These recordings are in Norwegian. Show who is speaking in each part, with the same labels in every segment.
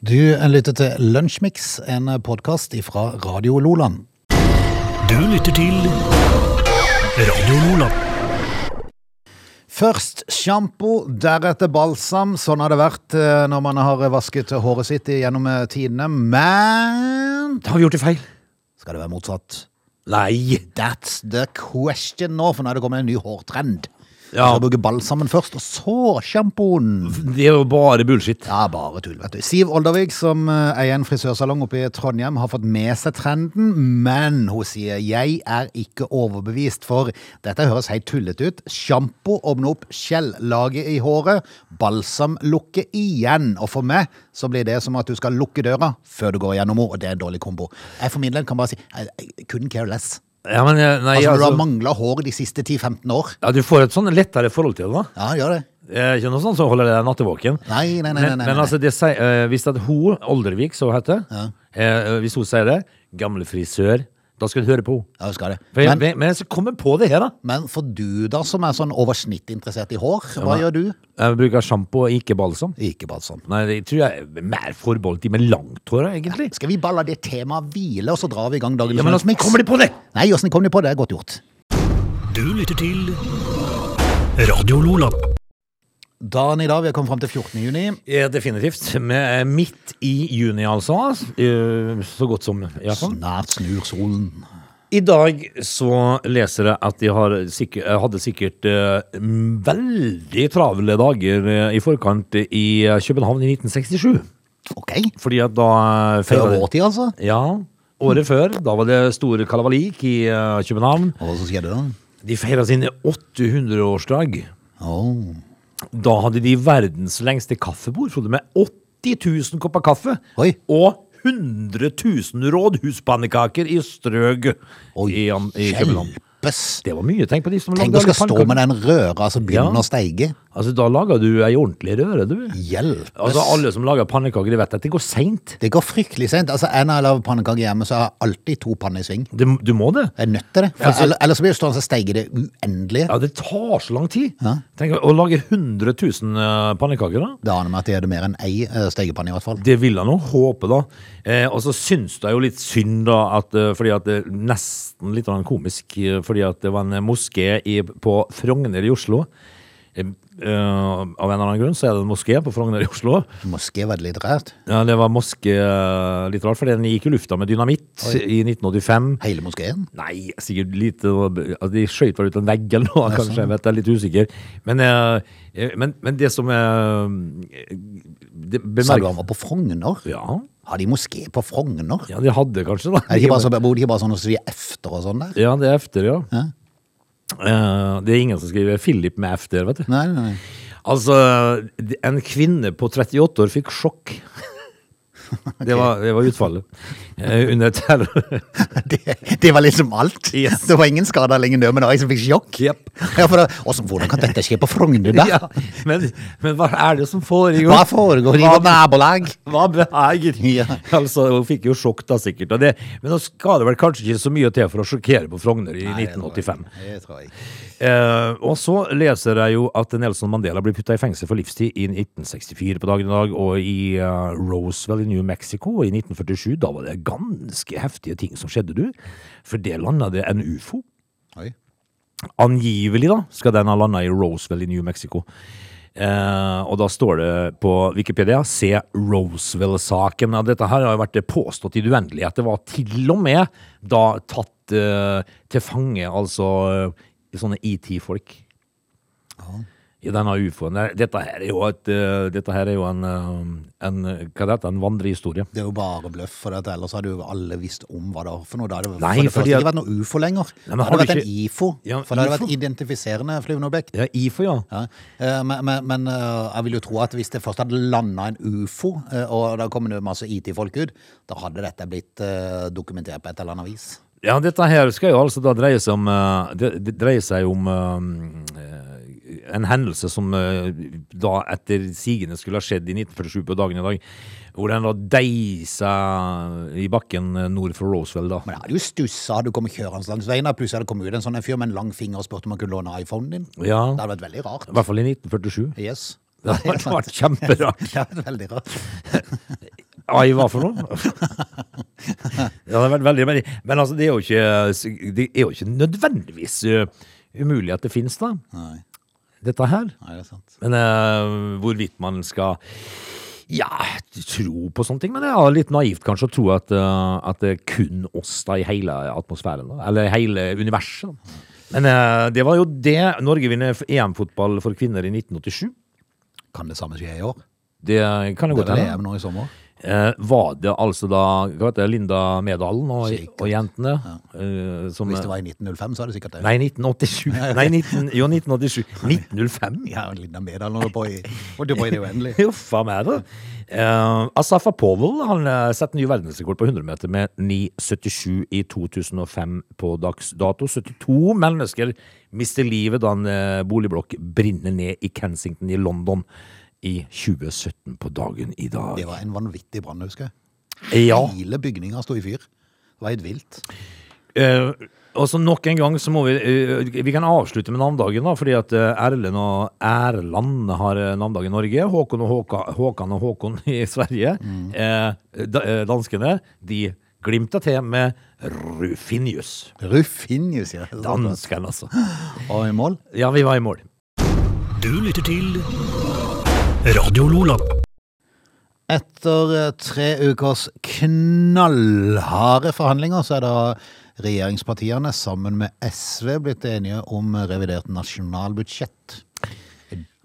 Speaker 1: Du lytter til Lunsjmix, en podkast fra Radio Loland.
Speaker 2: Du lytter til Radio Nordland.
Speaker 1: Først sjampo, deretter balsam. Sånn har det vært eh, når man har vasket håret sitt gjennom eh, tidene. Men
Speaker 3: Har vi gjort det feil?
Speaker 1: skal det være motsatt?
Speaker 3: Nei.
Speaker 1: That's the question nå, for nå er det kommet en ny hårtrend.
Speaker 3: Ja.
Speaker 1: Skal bruke balsamen først, og så sjampoen.
Speaker 3: Det er jo bare bullshit.
Speaker 1: Ja, bare tull, vet du. Siv Oldervik, som eh, eier en frisørsalong oppe i Trondheim, har fått med seg trenden, men hun sier jeg er ikke overbevist, for dette høres helt tullete ut. Sjampo åpner opp skjellaget i håret, balsam lukker igjen, og for meg så blir det som at du skal lukke døra før du går gjennom henne, og det er en dårlig kombo. Jeg for min del kan bare si I I couldn't care less.
Speaker 3: Ja, men jeg, nei,
Speaker 1: Altså, når du har
Speaker 3: altså,
Speaker 1: mangla hår de siste 10-15 år.
Speaker 3: ja, du får et sånn lettere forhold til det, da.
Speaker 1: Ja, gjør det.
Speaker 3: Det er Ikke noe sånn som holder deg nattevåken.
Speaker 1: Nei, nei, nei. nei,
Speaker 3: Men,
Speaker 1: nei,
Speaker 3: men
Speaker 1: nei.
Speaker 3: altså, det sier, eh, hvis at hun, Oldervik, så hun heter,
Speaker 1: Ja.
Speaker 3: eh, hvis hun sier det, gamle frisør, da skal du høre på henne.
Speaker 1: Ja, jeg husker det.
Speaker 3: For jeg- Men, men jeg skal komme på det her, da.
Speaker 1: Men for du da, som er sånn over snitt interessert i hår, hva gjør du?
Speaker 3: Jeg bruker sjampo og ikke balsam.
Speaker 1: Ikke sånn. balsam.
Speaker 3: Nei, det tror jeg er mer forbeholdt de med langt hår, egentlig.
Speaker 1: Skal vi bare la det temaet hvile, og så drar vi i gang dagens
Speaker 3: Ja, men altså,
Speaker 1: Lunsjmix?
Speaker 3: kommer de på det?
Speaker 1: Nei, åssen kom de på det? Godt gjort.
Speaker 2: Du lytter til Radio Nordland.
Speaker 1: Dagen i dag, vi har kommet fram til 14. juni.
Speaker 3: Ja, definitivt. Med, midt i juni, altså. Eh, Så godt som. Ja, sånn.
Speaker 1: Snart snur solen.
Speaker 3: I dag så leser jeg at de har sikkert, hadde sikkert eh, m- veldig travle dager eh, i forkant i eh, København i 1967.
Speaker 1: Ok.
Speaker 3: Fordi at da eh,
Speaker 1: Før
Speaker 3: feiret-
Speaker 1: vår tid, altså.
Speaker 3: Ja. Året før. Da var det stor kalabalik i eh, København.
Speaker 1: Og så skjedde det.
Speaker 3: De feira sin 800-årsdag.
Speaker 1: Oh.
Speaker 3: Da hadde de verdens lengste kaffebord, Frode, med 80 000 kopper kaffe.
Speaker 1: Oi.
Speaker 3: Og 100 000 rådhuspannekaker i strøg
Speaker 1: Oi,
Speaker 3: i, Am- i København.
Speaker 1: hjelpes!
Speaker 3: Det var mye. Tenk på de som
Speaker 1: Tenk å
Speaker 3: lagde
Speaker 1: skal stå med den røra som begynner
Speaker 3: Ja.
Speaker 1: å steige.
Speaker 3: Altså, da lager du ei ordentlig røre, du.
Speaker 1: Hjelpes!
Speaker 3: Altså, alle som lager pannekaker, de vet at det går seint.
Speaker 1: Det går fryktelig seint. Altså, jeg når jeg lager pannekaker hjemme, så har jeg alltid to panner i sving.
Speaker 3: Du, du må det.
Speaker 1: Jeg er nødt til det. For
Speaker 3: Ja, altså-
Speaker 1: ell- ellers blir det stående og steige det uendelige.
Speaker 3: Ja, det tar så lang tid.
Speaker 1: Ja.
Speaker 3: Tenk å lage 100 000 eh, pannekaker, da.
Speaker 1: Det aner meg at det er det mer enn ei eh, steikepanne, i hvert fall.
Speaker 3: Det vil han jo håpe, da. Eh, og så syns det jo litt synd, da, at, eh, fordi at det er nesten litt grann komisk, eh, fordi at det var en moské i, på Frogner i Oslo. Eh, eh, av en eller annen grunn så er det en moské på Frogner i Oslo.
Speaker 1: Moské er veldig litt rart.
Speaker 3: Ja, det var moské eh, litt rart, for den gikk i lufta med dynamitt i 1985.
Speaker 1: Hele moskeen.
Speaker 3: Nei, sikkert lite altså, De skøyt vel ut en vegg eller noe, kanskje. Jeg vet, jeg er litt usikker. Men, eh, men, men det som eh, det
Speaker 1: Sa du han
Speaker 3: bemerk...
Speaker 1: var på Frogner?
Speaker 3: Ja,
Speaker 1: Har de moské på Frogner?
Speaker 3: ja, de hadde kanskje, da.
Speaker 1: Er det ikke bare, så, bor de ikke bare sånn og sier efter og sånn der?
Speaker 3: Ja, det er efter, ja. Eh, det er ingen som skriver Philip med efter, vet du.
Speaker 1: Nei, nei, nei.
Speaker 3: Altså, en kvinne på 38 år fikk sjokk. Det, var, det var utfallet. Eh, under terror.
Speaker 1: Det, det var liksom alt.
Speaker 3: Yes.
Speaker 1: Det var ingen skader eller ingen død, men det var jeg som fikk sjokk.
Speaker 3: Jepp.
Speaker 1: Ja, for da, hvordan, hvordan kan dette skje på Frogner der?
Speaker 3: Ja, men, men hva er det som foregår?
Speaker 1: Hva foregår i vårt nabolag?
Speaker 3: Hva behager?
Speaker 1: Ja.
Speaker 3: Altså, hun fikk jo sjokk da sikkert. Og det, men nå skal det vel kanskje ikke så mye til for å sjokkere på Frogner i 1985.
Speaker 1: Det tror jeg ikke.
Speaker 3: Eh, og så leser jeg jo at Nelson Mandela blir putta i fengsel for livstid i 1964 på dagen i dag, og i eh, Roswell i New Mexico og i 1947. Da var det ganske heftige ting som skjedde, du. For det landa det en ufo.
Speaker 1: Oi.
Speaker 3: Angivelig, da, skal den ha landa i Roswell i New Mexico. Eh, og da står det på Wikipedia 'Se Roswell-saken'. Ja, Dette her har jo vært påstått i det uendelige. At det var til og med da tatt eh, til fange, altså eh, sånne ET-folk. I denne ufoen. der. Dette her er jo, et, eh, dette her er jo en, eh, en eh, Hva det heter det? En vandrehistorie.
Speaker 1: Det er jo bare bløff, for dette, ellers hadde jo alle visst om hva det var for noe. Da hadde det
Speaker 3: Nei,
Speaker 1: for det
Speaker 3: fordi
Speaker 1: første
Speaker 3: at-
Speaker 1: ikke vært noe ufo lenger.
Speaker 3: Nei, men
Speaker 1: det
Speaker 3: har
Speaker 1: hadde
Speaker 3: du
Speaker 1: vært en
Speaker 3: ikke-
Speaker 1: ifo,
Speaker 3: Ja,
Speaker 1: for det hadde
Speaker 3: ifo.
Speaker 1: vært identifiserende flyvende objekt.
Speaker 3: Ja, IFO, ja.
Speaker 1: Ja. eh, Men, men, men eh, jeg vil jo tro at hvis det først hadde landa en ufo, eh, og da kom det masse IT-folk ut, da hadde dette blitt eh, dokumentert på et eller annet vis.
Speaker 3: Ja, dette her skal jo altså da dreie seg om eh, Det, det dreier seg om eh, en hendelse som eh, da etter sigende skulle ha skjedd i 1947 på dagen i dag. Hvor den da deisa i bakken eh, nord for Roswell, da.
Speaker 1: Men jeg hadde jo stussa, hadde du kommet kjørende langs veien, og plutselig hadde kommet ut en sånn en fyr med en lang finger og spurt om han kunne låne iPhonen din.
Speaker 3: Ja,
Speaker 1: Det hadde vært veldig rart.
Speaker 3: I hvert fall i 1947.
Speaker 1: Yes.
Speaker 3: Det hadde vært kjemperart.
Speaker 1: Det hadde vært veldig rart.
Speaker 3: Ai, hva for noe? Det hadde vært veldig, veldig. Men altså, det er jo ikke, det er jo ikke nødvendigvis uh, umulig at det finnes, da.
Speaker 1: Nei, nei,
Speaker 3: Dette her.
Speaker 1: det er sant.
Speaker 3: Men eh, hvorvidt man skal ja, tro på sånne ting. Men det er litt naivt kanskje å tro at, eh, at det er kun oss da i hele atmosfæren. Da, eller hele universet. da. Men eh, det var jo det. Norge vinner EM-fotball for kvinner i 1987.
Speaker 1: Kan det samme skje i år?
Speaker 3: Det kan jo
Speaker 1: Det er
Speaker 3: godt
Speaker 1: vel
Speaker 3: hende.
Speaker 1: EM nå i sommer?
Speaker 3: Eh, var det altså da hva heter det, Linda Medalen og,
Speaker 1: Sikkert.
Speaker 3: og jentene eh, som
Speaker 1: Hvis det var i 1905, så er det sikkert eh, det.
Speaker 3: Nei, 1987. Nei, 19, jo, 1987. 1905?
Speaker 1: Ja, Linda Medal holdt på i holdt jo på i det uendelige.
Speaker 3: Huff a meg, da. Eh, Asaf Apovel han eh, setter ny verdensrekord på 100 meter med 9,77 i 2005 på dags dato. 72 mennesker mister livet da en eh, boligblokk brinner ned i Kensington i London i 2017 på dagen i dag.
Speaker 1: Det var en vanvittig brann, husker jeg.
Speaker 3: Ja.
Speaker 1: Hele bygninga sto i fyr. Det var helt vilt.
Speaker 3: Eh, og så nok en gang så må vi eh, Vi kan avslutte med navndagen, da, fordi at eh, Erlend og Erland har eh, navndag i Norge. Håkon og Håka, Håkan og Håkon i Sverige.
Speaker 1: Mm.
Speaker 3: Eh, da, eh, danskene de glimta til med Rufinius.
Speaker 1: Ruffinius, ja.
Speaker 3: Dansken, altså.
Speaker 1: Og i mål?
Speaker 3: Ja, vi var i mål.
Speaker 2: Du lytter til Radio Lola.
Speaker 1: Etter eh, tre ukers knallharde forhandlinger, så er da regjeringspartiene sammen med SV blitt enige om revidert nasjonalbudsjett.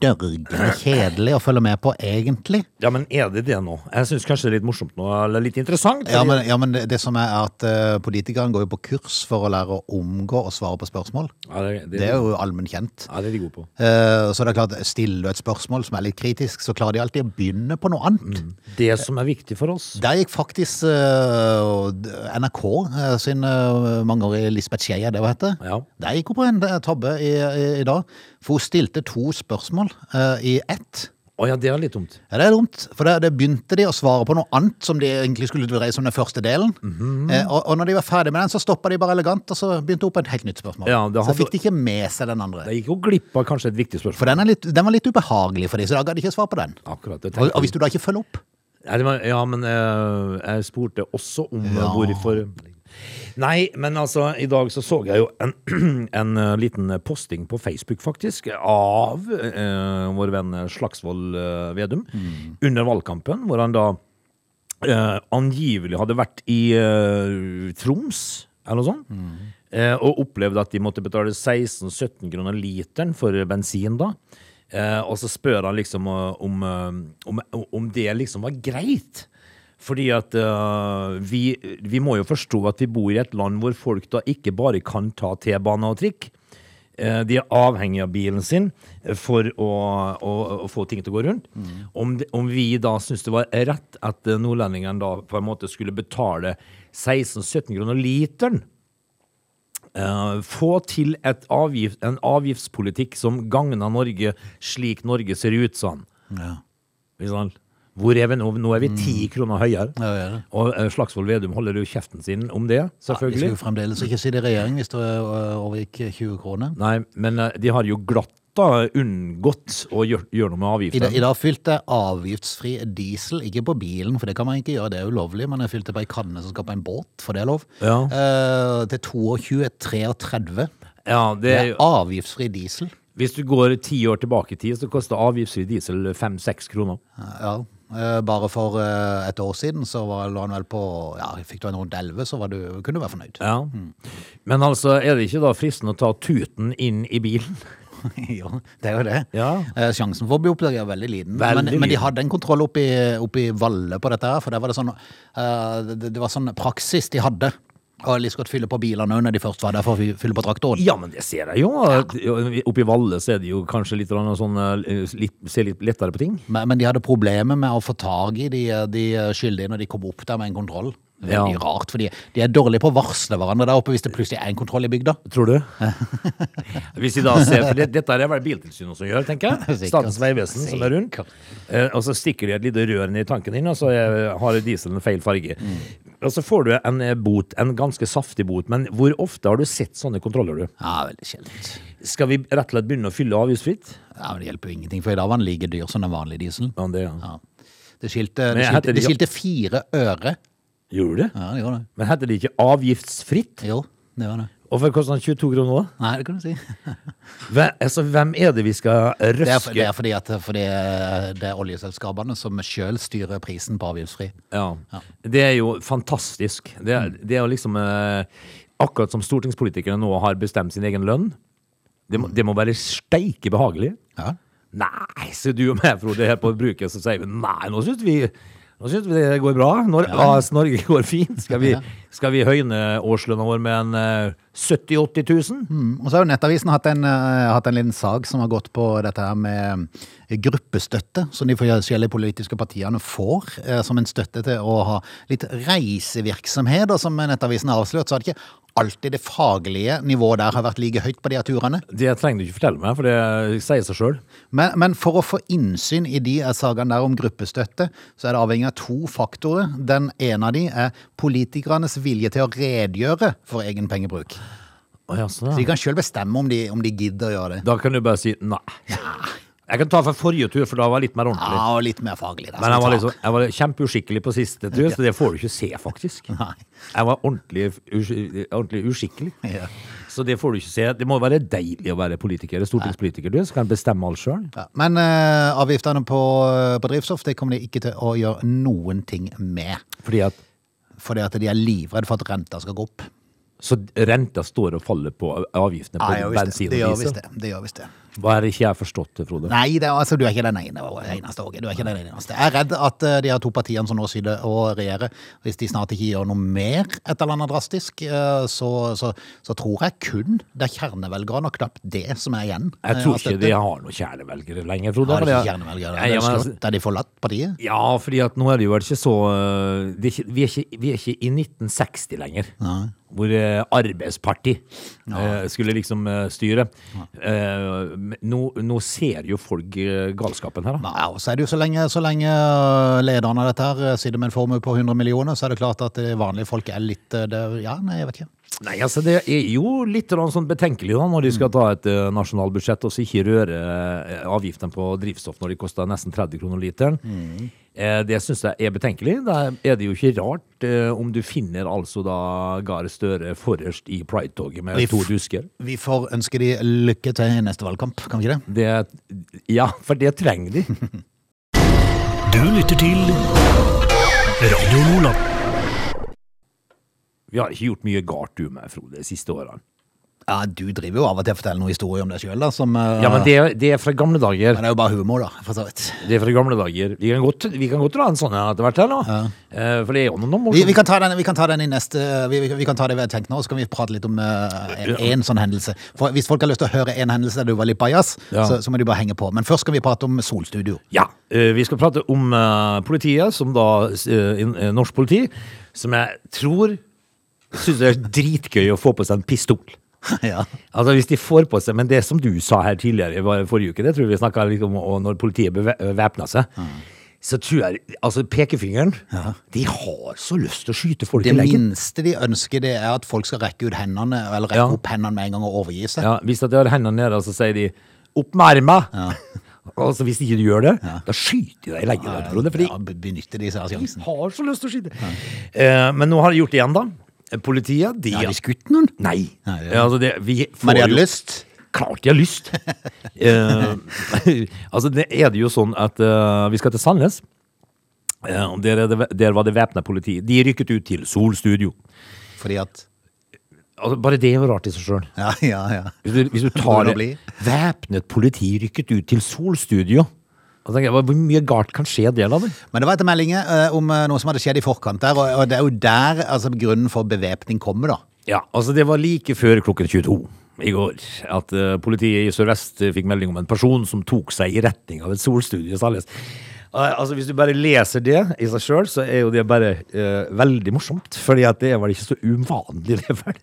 Speaker 1: Dørgende kjedelig å følge med på, egentlig.
Speaker 3: Ja, men er det det nå? Jeg syns kanskje det er litt morsomt nå, eller litt interessant.
Speaker 1: Ja,
Speaker 3: fordi-
Speaker 1: men, ja, men det, det som er at eh, politikerne går jo på kurs for å lære å omgå og svare på spørsmål.
Speaker 3: ja, det, det,
Speaker 1: Det er jo allmenn kjent.
Speaker 3: ja, det er de gode på.
Speaker 1: Eh, så det er klart, stiller du et spørsmål som er litt kritisk, så klarer de alltid å begynne på noe annet.
Speaker 3: Det som er viktig for oss
Speaker 1: Der gikk faktisk eh, NRK eh, sin eh, mangeårige Lisbeth Skeie, det hva heter.
Speaker 3: Ja.
Speaker 1: Der gikk hun på en eh, tabbe i, i, i dag. For hun stilte to spørsmål eh, i ett.
Speaker 3: Å ja, det er litt dumt.
Speaker 1: Ja, det er dumt, for det, det begynte de å svare på noe annet som de egentlig skulle dreie som den første delen.
Speaker 3: Mhm.
Speaker 1: eh, og, og når de var ferdig med den, så stoppa de bare elegant, og så begynte hun på et helt nytt spørsmål.
Speaker 3: Ja, det
Speaker 1: så
Speaker 3: hadde-
Speaker 1: fikk de ikke med seg den andre.
Speaker 3: Jeg gikk jo glipp av kanskje et viktig spørsmål.
Speaker 1: For den, er litt, den var litt ubehagelig for de, så da gadd de ikke svare på den.
Speaker 3: Akkurat det.
Speaker 1: Og, og hvis du da ikke følger opp
Speaker 3: Nei, det var- Ja, men eh, jeg spurte også om eh,
Speaker 1: Ja.
Speaker 3: hvorfor Nei, men altså, i dag så så jeg jo en, en eh, liten posting på Facebook, faktisk, av eh, vår venn Slagsvold eh, Vedum under valgkampen, hvor han da eh, angivelig hadde vært i eh, Troms, eller noe sånt, eh, og opplevde at de måtte betale 16-17 kroner literen for bensin da. Eh, og så spør han liksom eh, om, eh, om, om det liksom var greit. Fordi at eh, vi, vi må jo forstå at vi bor i et land hvor folk da ikke bare kan ta T-bane og trikk. Eh, De er avhengig av bilen sin eh, for å, å, å få ting til å gå rundt.
Speaker 1: Mm.
Speaker 3: Om, det- om vi da syns det var rett at eh, nordlendingene da på en måte skulle betale 16-17 kroner literen eh, få til et avgift, en avgiftspolitikk som gagner Norge slik Norge ser ut sånn.
Speaker 1: ja. Mm.
Speaker 3: Ikke sant? Hvor er vi nå? Nå er vi ti kroner høyere.
Speaker 1: Ja, vi er det.
Speaker 3: Og eh, Slagsvold Vedum holder jo kjeften sin om det,
Speaker 1: De skulle
Speaker 3: selvfølgelig.
Speaker 1: jo fremdeles ikke sitte i regjering hvis det øh, overgikk 20 kroner.
Speaker 3: Nei, men eh, de har jo glatt da unngått å gjøre, gjøre noe med
Speaker 1: I dag,
Speaker 3: avgiften.
Speaker 1: I dag fylte jeg avgiftsfri diesel, ikke på bilen, for det kan man ikke gjøre, det er ulovlig, men jeg fylte på ei kanne som skal på en båt, for det er lov,
Speaker 3: Ja.
Speaker 1: Eh, til 22,33.
Speaker 3: Ja, det
Speaker 1: Det
Speaker 3: er
Speaker 1: er
Speaker 3: jo,
Speaker 1: avgiftsfri diesel.
Speaker 3: hvis du går ti år tilbake i tid, så koster avgiftsfri diesel fem-seks kroner.
Speaker 1: Ja. Eh, Bare for eh, et år siden så var, lå han vel på Ja, fikk du en rundt 11, så var du, kunne du være fornøyd.
Speaker 3: Ja. Men altså, er det ikke da fristende å ta tuten inn i bilen?
Speaker 1: jo, det er jo det.
Speaker 3: Ja.
Speaker 1: Eh, Sjansen for å bli oppdaget er veldig liten.
Speaker 3: Veldig
Speaker 1: men, men de
Speaker 3: liten.
Speaker 1: hadde en kontroll oppe i, oppe i Valle på dette her, for der var det sånn eh, det, det var sånn praksis de hadde. Og like så godt fylle på bilene når de først var der for å fy- fylle på traktoren.
Speaker 3: Ja, men det ser jeg jo. Oppe i Valle så er det jo kanskje litt grann sånn eh, litt, Ser litt lettere på ting.
Speaker 1: Men, men de hadde problemer med å få tak i de, de skyldige når de kom opp der med en kontroll.
Speaker 3: Ja.
Speaker 1: Veldig rart, for de er dårlige på å varsle hverandre der oppe hvis det plutselig er en kontroll i bygda.
Speaker 3: Tror du? Hvis vi da ser, for det, Dette er det vel Biltilsynet som gjør, tenker jeg.
Speaker 1: Sikkert.
Speaker 3: Statens vegvesen som er rundt.
Speaker 1: Sikkert.
Speaker 3: Eh, og så stikker de et lite rør ned i tanken din, og så eh, har dieselen feil farge. Og så får du en eh, bot, en ganske saftig bot, men hvor ofte har du sett sånne kontroller, du?
Speaker 1: Ja, veldig sjeldent.
Speaker 3: Skal vi rett og slett begynne å fylle avgiftsfritt?
Speaker 1: Ja, men Det hjelper jo ingenting, for i dag var den like dyr som den vanlige dieselen.
Speaker 3: Ja, det, ja.
Speaker 1: Ja. Det skilte,
Speaker 3: Men
Speaker 1: det
Speaker 3: jeg heter
Speaker 1: skilte, det
Speaker 3: Jan-
Speaker 1: skilte fire øre.
Speaker 3: Gjorde det?
Speaker 1: Ja, det gjorde det.
Speaker 3: Men heter det ikke avgiftsfritt?
Speaker 1: Jo, det var det.
Speaker 3: Hvorfor koster den 22 kroner da?
Speaker 1: Nei, det kan du si.
Speaker 3: Hvem, altså, hvem er det vi skal
Speaker 1: Det er,
Speaker 3: røske?
Speaker 1: det er fordi at fordi eh, det er oljeselskapene som sjøl styrer prisen på avgiftsfri.
Speaker 3: Ja. Det er jo fantastisk. Det er,
Speaker 1: Mm.
Speaker 3: det er jo liksom eh, Akkurat som stortingspolitikere nå har bestemt sin egen lønn. Det må, det må være steike behagelig.
Speaker 1: Mm. Ja.
Speaker 3: Nei, så du og meg, Frode, her på bruket, så sier vi nei, nå syns vi nå synes vi det går bra. Nor AS Norge går fint. Skal vi,
Speaker 1: Ja.
Speaker 3: skal vi høyne årslønna vår med en eh, 70 000-80 000?
Speaker 1: Mm, Og så har jo Nettavisen hatt en, eh, hatt en liten sag som har gått på dette her med eh, gruppestøtte, som de forskjellige politiske partiene får eh, som en støtte til å ha litt reisevirksomhet. Og som Nettavisen har avslørt, så har det ikke alltid det faglige nivået der har vært like høyt på de her turene.
Speaker 3: Det trenger du ikke fortelle meg, for det sier seg sjøl.
Speaker 1: Men, men for å få innsyn i de sakene der om gruppestøtte, så er det avhengig av to faktorer. Den ene av de er politikernes vilje til å redegjøre for egen pengebruk. Så de kan sjøl bestemme om de, om de gidder å gjøre det.
Speaker 3: Da kan du bare si nei. Jeg kan ta fra forrige tur, for da var jeg litt mer ordentlig.
Speaker 1: Ja, og litt mer faglig. Der,
Speaker 3: Men jeg var,
Speaker 1: som
Speaker 3: liksom, jeg var kjempeuskikkelig på siste tur, så det får du ikke se, faktisk.
Speaker 1: Nei.
Speaker 3: Jeg var ordentlig, us ordentlig uskikkelig.
Speaker 1: tak. Ja.
Speaker 3: Så det får du ikke se. Det må være deilig å være politiker, stortingspolitiker, du, som kan bestemme alt sjøl.
Speaker 1: Ja. Men eh, avgiftene på, eh, på drivstoff det kommer de ikke til å gjøre noen ting med.
Speaker 3: Fordi at
Speaker 1: Fordi at de er livredde for at renta skal gå opp.
Speaker 3: Så renta står og faller på avgiftene på
Speaker 1: Ja, ja, visst det.
Speaker 3: bensin
Speaker 1: det gjør
Speaker 3: og
Speaker 1: visst
Speaker 3: diesel?
Speaker 1: det. det, gjør visst det.
Speaker 3: Hva er det ikke jeg har forstått, Frode?
Speaker 1: Nei, det, er- altså, du er ikke den ene, eneste Åge. Du er ikke den eneste. Jeg er redd at eh, de her to partiene som nå sitter og regjerer, hvis de snart ikke gjør noe mer et eller annet drastisk, eh, så, så, så tror jeg kun det er kjernevelgerne og knapt det som er igjen. eh,
Speaker 3: Jeg tror ikke de har noen kjernevelgere lenger, Frode.
Speaker 1: altså, har det
Speaker 3: fordi
Speaker 1: ikke
Speaker 3: at-
Speaker 1: kjernevelgere.
Speaker 3: Nei,
Speaker 1: Det
Speaker 3: ja,
Speaker 1: er
Speaker 3: men altså-
Speaker 1: slått, er de forlatt partiet?
Speaker 3: Ja, fordi at nå er det jo ikke så øh, det er ikke, vi, er ikke, vi er ikke i 1960 lenger, hvor eh, Arbeidsparti eh, skulle liksom eh, styre. Eh, men nå, nå ser jo folk eh, galskapen her, da.
Speaker 1: Nei, og så er det jo så lenge, så lenge øh, lederen av dette her øh, sitter med en formue på 100 millioner, så er det klart at øh, vanlige folk er litt øh, det, Ja, nei, jeg vet ikke.
Speaker 3: Nei, altså Det er jo litt grann sånn betenkelig da, når de
Speaker 1: Mm.
Speaker 3: skal ta et eh, nasjonalbudsjett og så ikke røre eh, avgiftene på drivstoff når de koster nesten 30 kroner literen.
Speaker 1: Mm.
Speaker 3: Eh, det syns jeg er betenkelig. Da er det jo ikke rart eh, om du finner altså da Gahr Støre forrest i Pride-toget med
Speaker 1: Vi f-
Speaker 3: to dusker.
Speaker 1: Vi får ønske de lykke til i neste valgkamp, kan vi ikke det?
Speaker 3: Det, ja, for det trenger de.
Speaker 2: Du lytter til Radio Lola.
Speaker 3: Vi har ikke gjort mye galt du med, Frode, de siste årene.
Speaker 1: Ja, du driver jo av og til og forteller noen historier om deg sjøl, da, som øh,
Speaker 3: Ja, men det, det er fra gamle dager.
Speaker 1: men det er jo bare humor, da, for så vidt.
Speaker 3: Det er fra gamle dager. Vi kan godt, vi kan godt dra en sånn en etter hvert her nå. Eh, For det er jo noen
Speaker 1: Vi,
Speaker 3: morsomme
Speaker 1: vi, kan ta den, vi kan ta den i neste eh, vi, vi- vi kan ta det vi har tenkt nå, så kan vi prate litt om én sånn hendelse. For Hvis folk har lyst til å høre én hendelse der du var litt bajas,
Speaker 3: Ja.
Speaker 1: så, så må de bare henge på. Men først skal vi prate om Solstudio.
Speaker 3: Ja, eh, vi skal prate om eh, politiet, som da eh, in- eh, Norsk politi, som jeg tror syns det er dritgøy å få på seg en pistol.
Speaker 1: ja.
Speaker 3: Altså hvis de får på seg, Men det som du sa her tidligere var forrige uke, det tror jeg vi snakka litt om, og når politiet bevæpna seg. Så tror jeg, altså Pekefingeren De har så lyst til å skyte folk
Speaker 1: Det
Speaker 3: i leggen.
Speaker 1: minste de ønsker, det er at folk skal rekke ut hendene, eller rekke
Speaker 3: Ja.
Speaker 1: opp hendene med en gang og overgi seg.
Speaker 3: Ja, hvis at de har hendene nede, så sier de 'opp med armen'. Altså, hvis de ikke gjør det, da skyter de deg i leggen. Ja, Frode, for de
Speaker 1: Ja, be- benytter de seg av sjansen.
Speaker 3: har så lyst til å skyte. Eh, men nå har de gjort det igjen, da. Politiet, de
Speaker 1: Har de skutt noen?
Speaker 3: Nei.
Speaker 1: Nei, det-
Speaker 3: Ja, altså det, vi får
Speaker 1: Men de
Speaker 3: jo-
Speaker 1: hadde lyst.
Speaker 3: Klart de har lyst. eh, altså, det er det jo sånn at eh, vi skal til Sandnes. Eh, og der, er det, der var det væpna politi. De rykket ut til Sol studio.
Speaker 1: Fordi at
Speaker 3: Altså, bare det er jo rart i seg sjøl.
Speaker 1: Ja, ja, ja.
Speaker 3: Hvis du, hvis du
Speaker 1: Hvor
Speaker 3: tar
Speaker 1: det
Speaker 3: det
Speaker 1: blir.
Speaker 3: Væpnet politi rykket ut til Sol studio. Og så tenker jeg, hva- Hvor mye galt kan skje der, da? du?
Speaker 1: Men det var etter meldinger eh, om eh, noe som hadde skjedd i forkant der, og, og det er jo der altså, grunnen for bevæpning kommer, da.
Speaker 3: Ja, altså det var like før klokken 22 i går at eh, politiet i Sør-Vest eh, fikk melding om en person som tok seg i retning av et solstudie i Sandnes. Eh, Altså Hvis du bare leser det i seg sjøl, så er jo det bare eh, veldig morsomt. Fordi at det er vel ikke så uvanlig, det vel?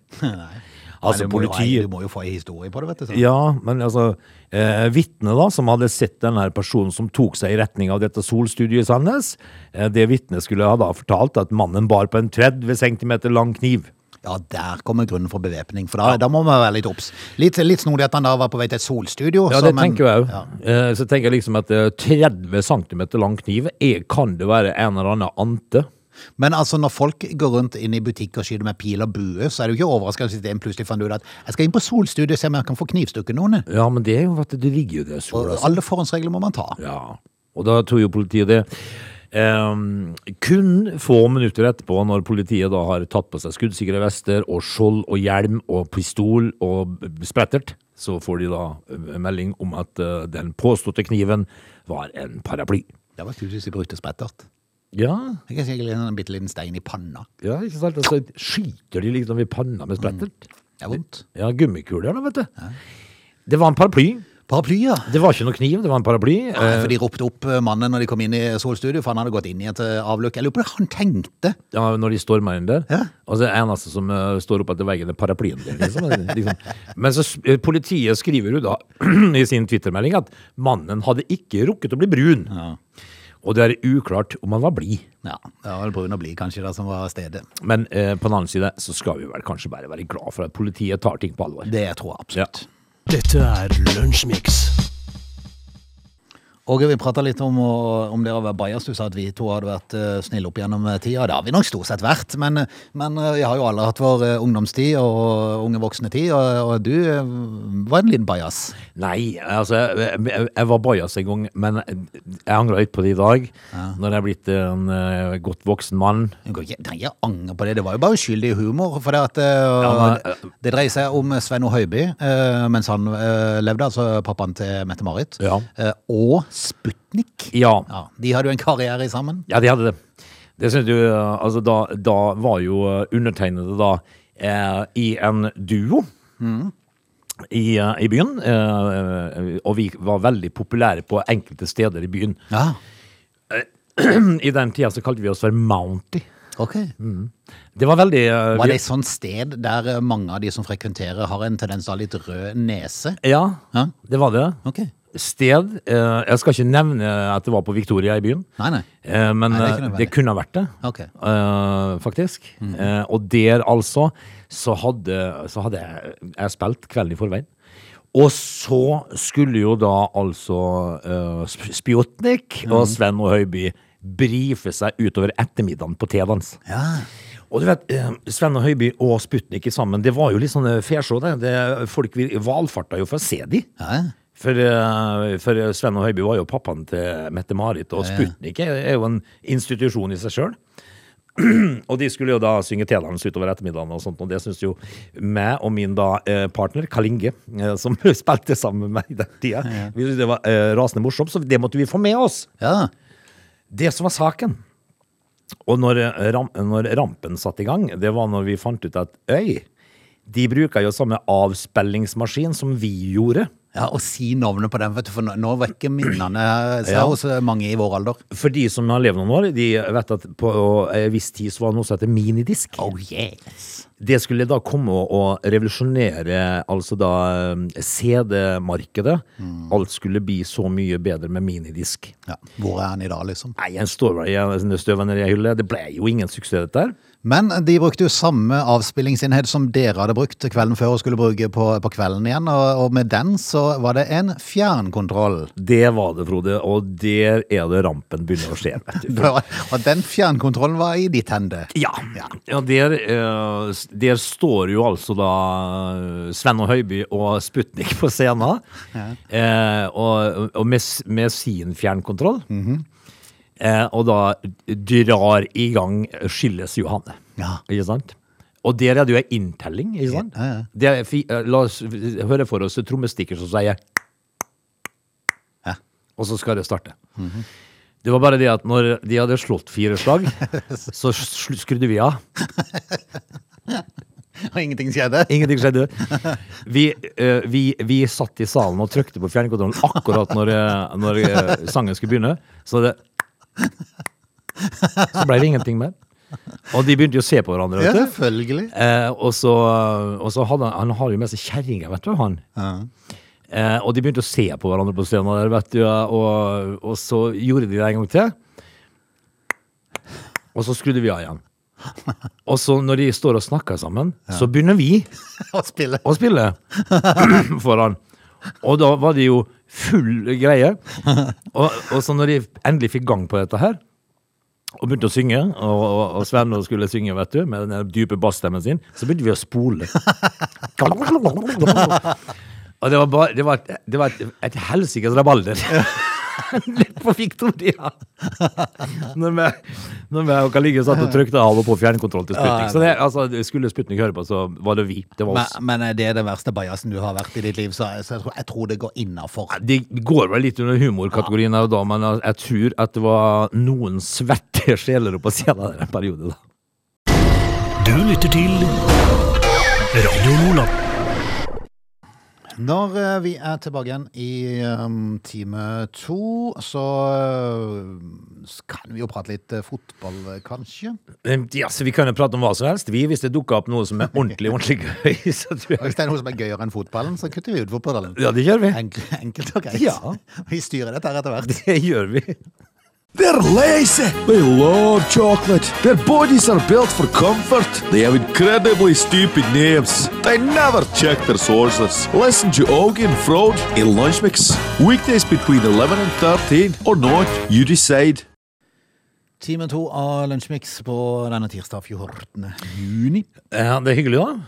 Speaker 1: Men du må jo
Speaker 3: Altså
Speaker 1: ha-
Speaker 3: politiet
Speaker 1: Du må jo få en historie på det, vet du. Så.
Speaker 3: ja, men altså, eh, vitnet da, som hadde sett denne personen som tok seg i retning av dette solstudiet i Sandnes, eh, det vitnet skulle ha da fortalt at mannen bar på en 30 cm lang kniv.
Speaker 1: Ja, der kommer grunnen for bevæpning, for da, da må man være litt obs. Litt, litt snodig at han da var på vei til et solstudio.
Speaker 3: Ja,
Speaker 1: så,
Speaker 3: det
Speaker 1: men-
Speaker 3: tenker jeg òg.
Speaker 1: Ja.
Speaker 3: Så tenker jeg liksom at eh, 30 cm lang kniv er, kan det være en eller annen ante.
Speaker 1: Men altså, når folk går rundt inn i butikk og skyter med pil og bue, så er det jo ikke overraskende hvis en plutselig fant ut at jeg skal inn på solstudio og se om jeg kan få knivstukket noen.
Speaker 3: Ja, men det er jo at det ligger jo det sola.
Speaker 1: Og alle forhåndsregler må man ta.
Speaker 3: Ja. Og da tror jo politiet det. Ehm, kun få minutter etterpå, når politiet da har tatt på seg skuddsikre vester og skjold og hjelm og pistol og sprettert, så får de da eh, melding om at eh, den påståtte kniven var en paraply.
Speaker 1: Det var kult hvis de brukte sprettert.
Speaker 3: Ja,
Speaker 1: Jeg kan sikkert en bitte liten stein i panna.
Speaker 3: ja ikke sant? Og så skyter de liksom i panna med sprettert.
Speaker 1: Det er vondt.
Speaker 3: Ja, gummikuler, da, vet du. Det var en paraply.
Speaker 1: Paraplyer.
Speaker 3: Det var ikke noe kniv, det var en paraply.
Speaker 1: Nei,
Speaker 3: Eh,
Speaker 1: For de ropte opp eh, mannen når de kom inn i solstudio, for han hadde gått inn i et eh, avløk. Jeg lurer på det han tenkte.
Speaker 3: ja, når de stormer inn der.
Speaker 1: Ja.
Speaker 3: Og så er det eneste som eh, står oppe etter veggen, er paraplyen. din, Liksom. liksom. Men så s- eh, politiet skriver jo da i sin twittermelding at mannen hadde ikke rukket å bli brun. Og det er uklart om han var blid.
Speaker 1: Ja, det var vel brun og blid kanskje da som var stedet.
Speaker 3: Men eh, på den annen side så skal vi vel kanskje bare være glad for at politiet tar ting på alvor.
Speaker 1: Det tror jeg absolutt.
Speaker 3: Ja.
Speaker 2: Dette er Lunsjmix.
Speaker 1: Åge, vi prata litt om, å- om det å være bajas. Du sa at vi to hadde vært eh, snille opp gjennom eh, tida. Det har vi nok stort sett vært, men, eh, men eh, vi har jo alle hatt vår eh, ungdomstid og unge voksne tid, og, og du eh, var en liten bajas.
Speaker 3: Nei, altså Jeg, jeg, jeg var bajas en gang, men jeg angrer litt på det i dag. Når jeg er blitt en eh, godt voksen mann.
Speaker 1: Du kan ikke trenger å angre på det. Det var jo bare uskyldig humor. For det, at, eh,
Speaker 3: Ja, men,
Speaker 1: det, det dreier seg om Svenno Høiby eh, mens han eh, levde, altså pappaen til Mette-Marit,
Speaker 3: Ja.
Speaker 1: eh, og Sputnik.
Speaker 3: Ja,
Speaker 1: Ja, de hadde jo en karriere sammen.
Speaker 3: ja de hadde det. Det synes du, eh, altså Da, da var jo eh, undertegnede da eh, i en duo. I, eh, I byen. eh, og vi var veldig populære på enkelte steder i byen.
Speaker 1: Ja,
Speaker 3: I den tida så kalte vi oss for Mounty.
Speaker 1: ok.
Speaker 3: Det var veldig eh,
Speaker 1: Var
Speaker 3: vi-
Speaker 1: det et sånt sted der eh, mange av de som frekventerer har en tendens til å ha litt rød nese?
Speaker 3: Ja,
Speaker 1: Ja.
Speaker 3: det var det.
Speaker 1: Ok.
Speaker 3: Sted eh, Jeg skal ikke nevne at det var på Victoria i byen.
Speaker 1: Nei, nei.
Speaker 3: Eh, men
Speaker 1: Nei, det er ikke
Speaker 3: eh, det,
Speaker 1: nødvendig.
Speaker 3: kunne ha vært det,
Speaker 1: Ok.
Speaker 3: Eh, faktisk. Eh, og der altså, så hadde, så hadde jeg, jeg spilt kvelden i forveien. Og så skulle jo da altså eh, Sp- Spjotnik og Sven og Høiby brife seg utover ettermiddagen på T-dans.
Speaker 1: Ja.
Speaker 3: Og du vet, eh, Sven og Høiby og Sputnik i sammen, det var jo litt sånn eh, fæsjå, det. det. Folk vil- valfarta jo for å se de.
Speaker 1: ja.
Speaker 3: For, eh, for Sven og Høiby var jo pappaen til Mette-Marit, og Sputnik er, er jo en institusjon i seg sjøl. og de skulle jo da synge T-dans utover ettermiddagen, og sånt, og det syns jo meg og min da eh, partner, Kalinge, eh, som spilte sammen med meg i den tida, vi syntes det var eh, rasende morsomt, så det måtte vi få med oss.
Speaker 1: ja.
Speaker 3: Det som var saken. Og når, eh, ram, når rampen satte i gang, det var når vi fant ut at øy, de bruker jo samme avspillingsmaskin som vi gjorde.
Speaker 1: Ja, Og si navnet på den, vet du, for nå- nå vekker minnene seg
Speaker 3: Ja.
Speaker 1: hos eh, mange i vår alder.
Speaker 3: For de som har levd noen år, de vet at på en viss tid så var det noe som heter minidisk.
Speaker 1: Oh yes.
Speaker 3: Det skulle da komme og, og revolusjonere altså da eh, CD-markedet. Alt skulle bli så mye bedre med minidisk.
Speaker 1: Ja, Hvor er han i dag, liksom?
Speaker 3: Nei, en står vel i en støvvennerhylle. Det ble jo ingen suksess, dette her.
Speaker 1: Men eh, de brukte jo samme avspillingsenhet som dere hadde brukt kvelden før og skulle bruke på, på kvelden igjen, og, og med den så var det en fjernkontroll.
Speaker 3: Det var det, Frode. Og der er det rampen begynner å skje. vet du.
Speaker 1: Og den fjernkontrollen var i ditt hende.
Speaker 3: Ja. ja der, eh, s- der står jo altså da eh, Sven og Høiby og Sputnik på scenen. Eh, og og med, s- med sin fjernkontroll.
Speaker 1: Mm.
Speaker 3: eh, og da drar i gang Skilles Johanne.
Speaker 1: Ja.
Speaker 3: Ikke sant? Og der er det jo ei inntelling, ikke sant?
Speaker 1: Ja, ja.
Speaker 3: Det er fi, eh, la oss høre for oss trommestikker som sier
Speaker 1: Ja. Mhm.
Speaker 3: Og så skal det starte. Det var bare det at når de hadde slått fire slag, så sl- skrudde vi av.
Speaker 1: Og ingenting skjedde.
Speaker 3: Ingenting skjedde. Vi, eh, vi, vi satt i salen og trykte på fjernkontrollen akkurat når, eh, når eh, sangen skulle begynne. Så det Så ble det ingenting mer. Og de begynte jo å se på hverandre.
Speaker 1: Ja,
Speaker 3: Vet du.
Speaker 1: selvfølgelig.
Speaker 3: Eh, og så, og så hadde han, han har jo med seg kjerringa, vet du. han eh, Og de begynte å se på hverandre på scenen der, vet du. ja, Og, og så gjorde de det en gang til. Og så skrudde vi av igjen. Og så når de står og snakker sammen, så begynner vi
Speaker 1: å spille.
Speaker 3: å spille for han. Og da var det jo full greie. Og, og så når de endelig fikk gang på dette her, og begynte å synge, og, og, og Sven skulle synge vet du, med den dype bassstemmen sin, så begynte vi å spole. Og det var, bare, det var, et- det var et, et helsikes rabalder. på Victoria. Når vi, når vi og Kaligge satt og trykte av og på fjernkontroll til Sputnik. Så det, altså, skulle Sputnik høre på, så var det vi. Det var oss.
Speaker 1: Men, men er det er den verste bajasen du har vært i ditt liv, så, så jeg, tror, jeg tror det går innafor.
Speaker 3: Det går vel litt under humorkategorien her og da, men jeg tror at det var noen svette sjeler oppå sida der en periode, da.
Speaker 2: Du lytter til Radio Lola.
Speaker 1: Når eh, vi er tilbake igjen i eh, time to, så eh, s- kan vi jo prate litt eh, fotball, eh, kanskje.
Speaker 3: Eh, Ja, så vi kan jo prate om hva som helst, vi, hvis det dukker opp noe som er ordentlig, ordentlig gøy. Så tror
Speaker 1: Og
Speaker 3: jeg
Speaker 1: Hvis det er noe som er gøyere enn fotballen, så kutter vi ut fotballen.
Speaker 3: Ja, det gjør vi.
Speaker 1: Enkel, enkelt og greit.
Speaker 3: Ja.
Speaker 1: Vi styrer dette her etter hvert.
Speaker 3: Det gjør vi.
Speaker 4: They're lazy. They love chocolate. Their bodies are built for comfort. They have incredibly stupid names. They never check their sources. Listen to Augie and Frode in Lunch Mix. Weekdays between 11 and 13 or not, you decide.
Speaker 1: Time to av Lunsjmix på denne tirsdag 14. juni.
Speaker 3: Ja, det er hyggelig, da.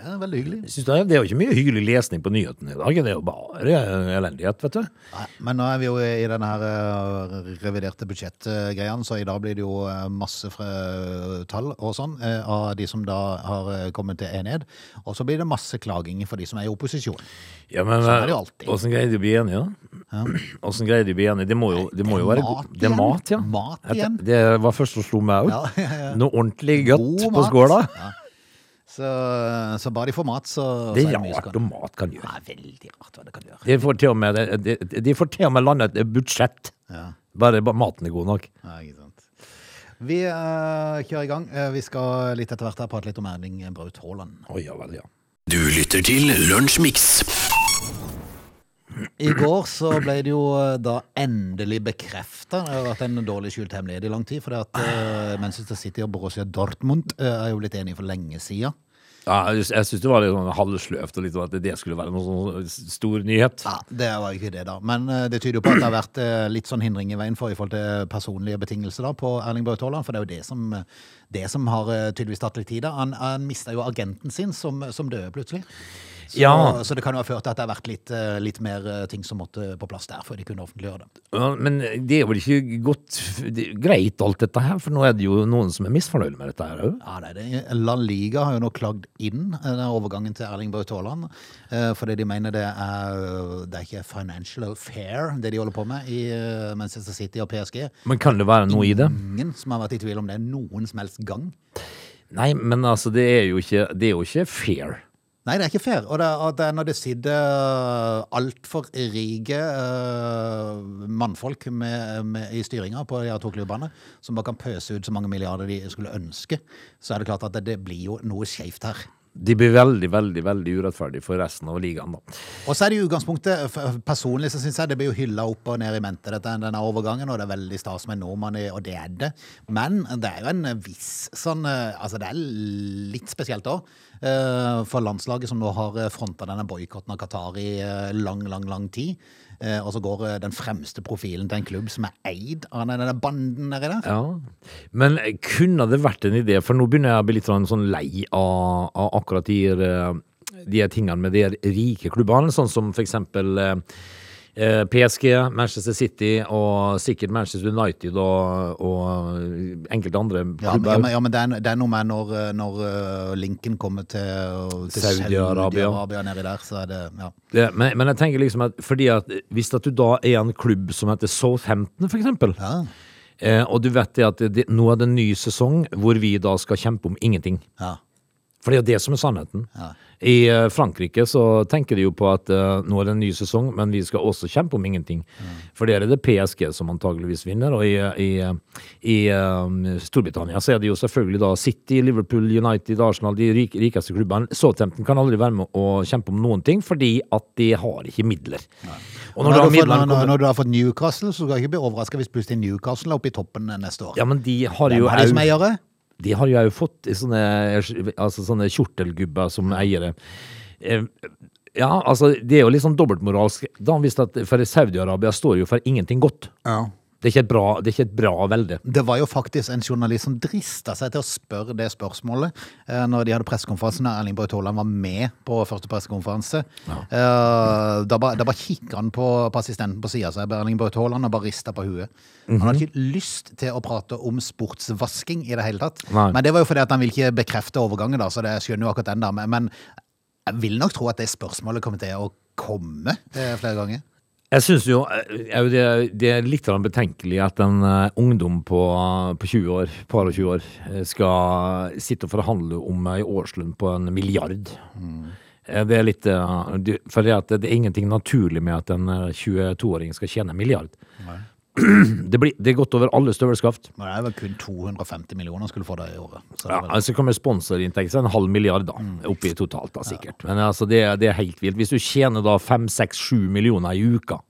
Speaker 1: Det er veldig hyggelig.
Speaker 3: Syns du det? Det er jo ikke mye hyggelig lesning på nyhetene i dag. Det er jo bare eh, elendighet, vet du.
Speaker 1: Nei, men nå er vi jo i denne her eh, reviderte budsjettgreiene, så i dag blir det jo eh, masse fra tall og sånn eh, av de som da har eh, kommet til enighet. Og så blir det masse klaging for de som er i opposisjon.
Speaker 3: Ja, men eh,
Speaker 1: Sånn er det jo alltid.
Speaker 3: åssen greide de å bli enige, da? Åssen greide de å bli enige? Det må jo, det må
Speaker 1: det
Speaker 3: jo
Speaker 1: er mat
Speaker 3: være god- Det er
Speaker 1: igjen.
Speaker 3: mat, ja.
Speaker 1: Mat
Speaker 3: At-
Speaker 1: igjen.
Speaker 3: Det var først som slo meg
Speaker 1: Ja,
Speaker 3: òg.
Speaker 1: ja, ja.
Speaker 3: Noe ordentlig godt
Speaker 1: God
Speaker 3: på
Speaker 1: mat.
Speaker 3: skåla.
Speaker 1: Ja. Så, så bare de får mat, så
Speaker 3: Det
Speaker 1: så
Speaker 3: er
Speaker 1: mye som
Speaker 3: rart
Speaker 1: kan-
Speaker 3: om mat kan gjøre.
Speaker 1: Ja, veldig rart hva det kan gjøre.
Speaker 3: De får til og med, de, de- de får til og med landet et budsjett.
Speaker 1: Ja.
Speaker 3: Bare ba- maten er god nok.
Speaker 1: Ja, ikke sant. Vi eh, kjører i gang. Eh, vi skal litt etter hvert her prate litt om Erling Braut Haaland.
Speaker 3: Å ja vel, ja.
Speaker 2: Du lytter til Lunsjmix.
Speaker 1: I går så ble det jo eh, da endelig bekrefta. Det har vært en dårlig skjult hemmelighet i lang tid. For det at eh, Manchester City og Borussia Dortmund eh, er jo blitt enige for lenge sida.
Speaker 3: ja jeg sy- jeg syns det var litt sånn halvsløvt og litt sånn at det skulle være noen sånn stor nyhet.
Speaker 1: Ja, det var jo ikke det, da. Men eh, det tyder jo på at det har vært eh, litt sånn hindring i veien for i forhold til personlige betingelser da på Erling Braut Haaland. For det er jo det som, eh, det som har eh, tydeligvis tatt litt tid. da. Han, han mista jo agenten sin, som, som døde plutselig. Så,
Speaker 3: Ja.
Speaker 1: så det kan jo ha ført til at det har vært litt, eh, litt mer eh, ting som måtte på plass der før de kunne offentliggjøre det.
Speaker 3: Ja, Men det er vel ikke godt, det, greit alt dette her, for nå er det jo noen som er misfornøyd med dette her òg.
Speaker 1: Ja, nei, det, La Liga har jo nå klagd inn eh, den overgangen til Erling Braut Haaland. eh, Fordi de mener det er, eh, det er ikke financial fair, det de holder på med i eh, Manchester City og PSG.
Speaker 3: Men kan det være noe i det?
Speaker 1: Ingen som har vært i tvil om det noen som helst gang.
Speaker 3: Nei, men altså, det er jo ikke, det er jo ikke fair.
Speaker 1: Nei, det er ikke fair. Og det er, og det er når det sitter altfor rike eh, mannfolk med, med, i styringa på de her to klubbene, som bare kan pøse ut så mange milliarder de skulle ønske, så er det klart at det, det blir jo noe skjevt her.
Speaker 3: De blir veldig, veldig veldig urettferdige for resten av ligaen, da.
Speaker 1: Og så er det i utgangspunktet, f- personlig så synes jeg det blir jo hylla opp og ned i mente dette, denne overgangen, og det er veldig stas med en nordmann, i- og det er det. Men det er jo en viss sånn, eh, altså det er litt spesielt også, eh, for landslaget som nå har eh, fronta denne boykotten av Qatar i eh, lang, lang, lang tid, eh, og så går eh, den fremste profilen til en klubb som er eid av denne denne banden nedi der.
Speaker 3: Ja. Men kunne det vært en idé, for nå begynner jeg å bli litt sånn, sånn lei av, av akkurat de, her, eh, de her tingene med de her rike klubbene, sånn som for eksempel eh, eh, PSG, Manchester City og sikkert Manchester United og, og enkelte andre
Speaker 1: Ja, men, ja,
Speaker 3: klubber.
Speaker 1: men, ja, men det, er, det er noe med når, eh, når eh, Lincoln kommer til, eh, til
Speaker 3: Saudi-Arabia.
Speaker 1: Saudi-Arabia nedi der, så er det, ja.
Speaker 3: Det, men, men jeg tenker liksom at, fordi at hvis at du da er en klubb som heter Southampton, for eksempel,
Speaker 1: Ja.
Speaker 3: eh, og du vet det at det, nå er det en ny sesong hvor vi da skal kjempe om ingenting.
Speaker 1: Ja.
Speaker 3: For det er jo det som er sannheten. I eh, Frankrike så tenker de jo på at eh, nå er det en ny sesong, men vi skal også kjempe om ingenting. For der er det PSG som antageligvis vinner, og i, i, i eh, Storbritannia så er det jo selvfølgelig da City, Liverpool, United, Arsenal, de rik, rikeste klubbene. Southampton kan aldri være med å kjempe om noen ting, fordi at de har ikke midler. Og
Speaker 1: Når,
Speaker 3: når, da
Speaker 1: du, har fått,
Speaker 3: midlene
Speaker 1: når,
Speaker 3: kommer
Speaker 1: når du har fått Newcastle, så skal du ikke bli overraska hvis plutselig Newcastle er oppe i toppen neste år.
Speaker 3: Ja, men de har
Speaker 1: Hvem
Speaker 3: jo
Speaker 1: har de som
Speaker 3: au-
Speaker 1: eiere?
Speaker 3: De har jo fått i sånne, altså sånne kjortelgubber som eiere. Eh, Ja, altså, det er jo litt sånn dobbeltmoralsk. Da har han visst at for Saudi-Arabia står jo for ingenting godt. Det er ikke et bra, det er ikke et bra velde.
Speaker 1: Det var jo faktisk en journalist som drista seg til å spørre det spørsmålet eh, når de hadde pressekonferansen. og Erling Braut Haaland var med på første pressekonferanse. Eh, da bare da bare kikka han på, på assistenten på sida av seg, Erling Braut Haaland, og bare rista på huet. Han hadde ikke lyst til å prate om sportsvasking i det hele tatt.
Speaker 3: Nei.
Speaker 1: Men det var jo fordi at han vil ikke bekrefte overgangen, da, så det jeg skjønner jo akkurat den, da. Men, men jeg vil nok tro at det spørsmålet kommer til å komme eh, flere ganger.
Speaker 3: Jeg syns jo eh, au, det, det er litt grann betenkelig at en eh, ungdom på, på 20 år, par og 20 år, eh, skal sitte og forhandle om ei årslønn på en milliard.
Speaker 1: Mm.
Speaker 3: Eh, Det er litt eh, du- For det, at det er ingenting naturlig med at en eh, 22-åring skal tjene en milliard. Det, blir, det er godt over alle støvelskaft.
Speaker 1: Men det er vel kun 250 millioner skulle få det i året. Så det
Speaker 3: Ja,
Speaker 1: er Mm. vel-
Speaker 3: altså kommer sponsorinntekt, så er det en halv milliard da, oppi totalt da, sikkert. Men altså, det, er- det er helt vilt. Hvis du tjener da fem, seks, sju millioner i uka,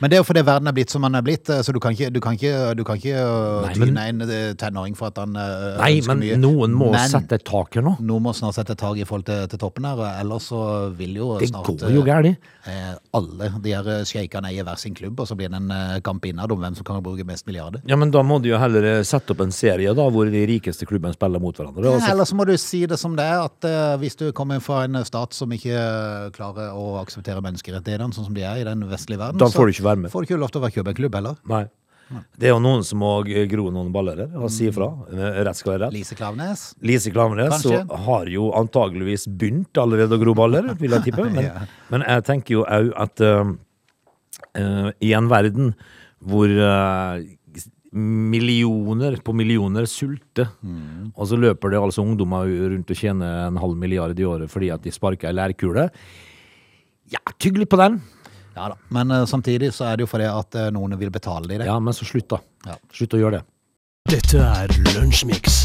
Speaker 1: Men det er jo fordi verden er blitt som den er blitt, eh, så du kan ikke, du kan ikke, du kan ikke eh,
Speaker 3: Nei, men-
Speaker 1: tyne en eh, tenåring for at han eh,
Speaker 3: Nei,
Speaker 1: ønsker
Speaker 3: men
Speaker 1: mye.
Speaker 3: noen må
Speaker 1: men,
Speaker 3: sette et tak her nå.
Speaker 1: Noen må snart sette tak i forhold til, til toppen her, eh, ellers så vil jo
Speaker 3: Det
Speaker 1: snart
Speaker 3: går jo
Speaker 1: eh,
Speaker 3: gærlig.
Speaker 1: eh, alle de her eh, sjeikene eier hver sin klubb, og så blir det en eh, kamp innad om hvem som kan bruke mest milliarder.
Speaker 3: Ja, men da må du jo heller eh, sette opp en serie da, hvor de rikeste klubbene spiller mot hverandre. Altså, og
Speaker 1: Ja,
Speaker 3: så-
Speaker 1: Eller så må du si det som det er, at eh, hvis du kommer fra en stat som ikke eh, klarer å akseptere menneskerettighetene sånn som de er i den vestlige verden,
Speaker 3: Da får du ikke være med.
Speaker 1: så får du ikke lov til å være kjøpeklubb heller.
Speaker 3: Nei. Det er jo noen som må g- gro noen baller her og si ifra. Eh, Rett skal være rett.
Speaker 1: Lise Klaveness.
Speaker 3: Lise Klaveness så
Speaker 1: Kanskje.
Speaker 3: har jo antageligvis begynt allerede å gro baller, vil jeg tippe. Men, men jeg tenker jo òg at eh, eh, i en verden hvor eh, millioner på millioner sulter,
Speaker 1: Mm.
Speaker 3: og så løper det altså ungdommer rundt og tjener en halv milliard i året fordi at de sparker ei lærkule. Ja, tygg litt på den.
Speaker 1: Ja da. Men eh, samtidig så er det jo fordi at eh, noen vil betale de det.
Speaker 3: Ja, men så slutt, da.
Speaker 1: Ja.
Speaker 3: Slutt å gjøre det.
Speaker 2: Dette er Lunsjmix.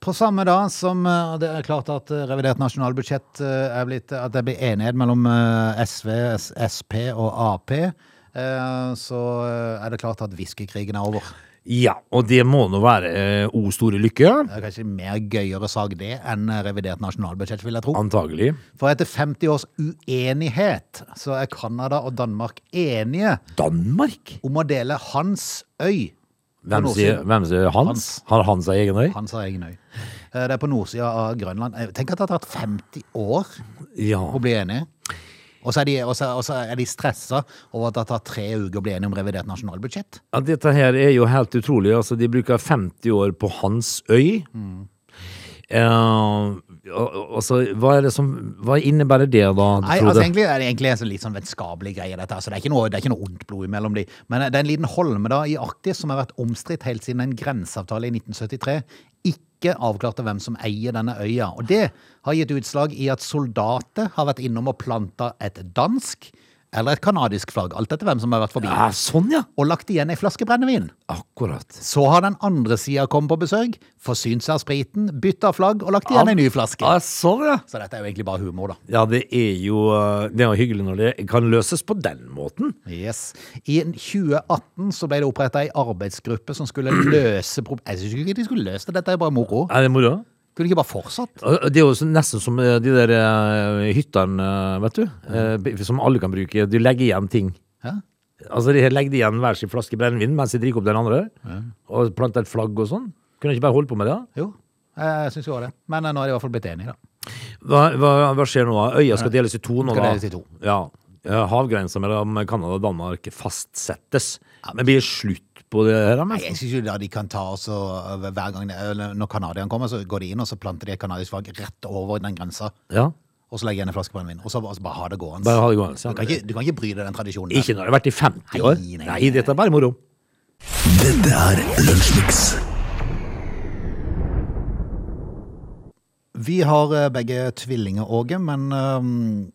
Speaker 1: På samme dag som eh, det er klart at eh, revidert nasjonalbudsjett eh, er blitt At det blir enighet mellom eh, SV, S- Sp og Ap, eh, så eh, er det klart at whiskykrigen er over.
Speaker 3: Ja, og det må nå være eh, o store lykke.
Speaker 1: Det er kanskje en mer gøyere sak det enn eh, revidert nasjonalbudsjett, vil jeg tro.
Speaker 3: Antagelig.
Speaker 1: For etter 50 års uenighet så er Canada og Danmark enige
Speaker 3: Danmark?
Speaker 1: om å dele hans øy. på
Speaker 3: Hvem sier,
Speaker 1: nordsiden.
Speaker 3: hvem sier Hans?
Speaker 1: Hans.
Speaker 3: Har han seg egen øy?
Speaker 1: Hans har egen øy. Eh, Det er på nordsida av Grønland. Eh, Tenk at det har tatt 50 år
Speaker 3: Ja.
Speaker 1: å bli enige. Og så er de, og så- og så er de stressa over at det har tatt tre uker å bli enige om revidert nasjonalbudsjett.
Speaker 3: ja. Dette her er jo helt utrolig. Altså, de bruker 50 år på hans øy. Eh, og- og- altså, hva, er det som, hva innebærer det, da,
Speaker 1: Nei,
Speaker 3: Frode?
Speaker 1: altså egentlig er det egentlig en sånn litt sånn vennskapelig greie, dette. her, så det er ikke noe, det er ikke noe ondt blod imellom de. Men eh, det er en liten holme da i Arktis som har vært omstridt helt siden en grenseavtale i 1973 ikke avklarte hvem som eier denne øya. Og det har gitt utslag i at soldater har vært innom og planta et dansk eller et kanadisk flagg. Alt etter hvem som har vært forbi.
Speaker 3: ja, sånn, ja!
Speaker 1: og lagt igjen ei flaske brennevin.
Speaker 3: Akkurat.
Speaker 1: Så har den andre sida kommet på besøk, forsynt seg av spriten, bytta flagg og lagt igjen ei ny flaske.
Speaker 3: Ja, sånn, ja!
Speaker 1: Så dette er jo egentlig bare humor, da.
Speaker 3: Ja, det er jo eh, Det er jo hyggelig når det kan løses på den måten.
Speaker 1: Yes. I 2018 så ble det oppretta ei arbeidsgruppe som skulle løse prob- Jeg syns ikke de skulle løse det, dette er bare moro.
Speaker 3: Er det moro?
Speaker 1: Kunne de ikke bare fortsatt?
Speaker 3: Og- og Det er jo så- nesten som eh, de der eh, hyttene, eh, vet du. eh, b- Som alle kan bruke. Du legger igjen ting.
Speaker 1: Hæ?
Speaker 3: Altså, de legger igjen hver sin flaske brennevin mens de drikker opp den andre. Og planter et flagg og sånn. Kunne de ikke bare holde på med det? da?
Speaker 1: Jo, jeg syns jo det. Men eh, nå er de i hvert fall blitt enige, da.
Speaker 3: Hva, hva, hva skjer nå? da? Øya skal deles i to nå,
Speaker 1: Skal
Speaker 3: da.
Speaker 1: deles i to.
Speaker 3: Ja. Eh, Havgrensa mellom Canada og Danmark fastsettes. Men blir det slutt på det her? da, men?
Speaker 1: Nei, jeg synes jo da de kan ta også, hver gang, det- eller Når canadierne kommer, så går de inn og så planter de et canadisk flagg rett over den grensa.
Speaker 3: Ja.
Speaker 1: Og så legger jeg igjen en flaske brennevin. Og så bare, altså bare ha det gående.
Speaker 3: Bare ha det gående, ja.
Speaker 1: Du, kan ikke, du kan ikke bry deg den tradisjonen. der.
Speaker 3: Ikke når det har vært i 50 år?
Speaker 1: Nei, nei,
Speaker 3: Nei, dette er bare moro.
Speaker 2: Dette er Lunsjmix.
Speaker 1: Vi har eh, begge tvillinger, Åge, men øhm,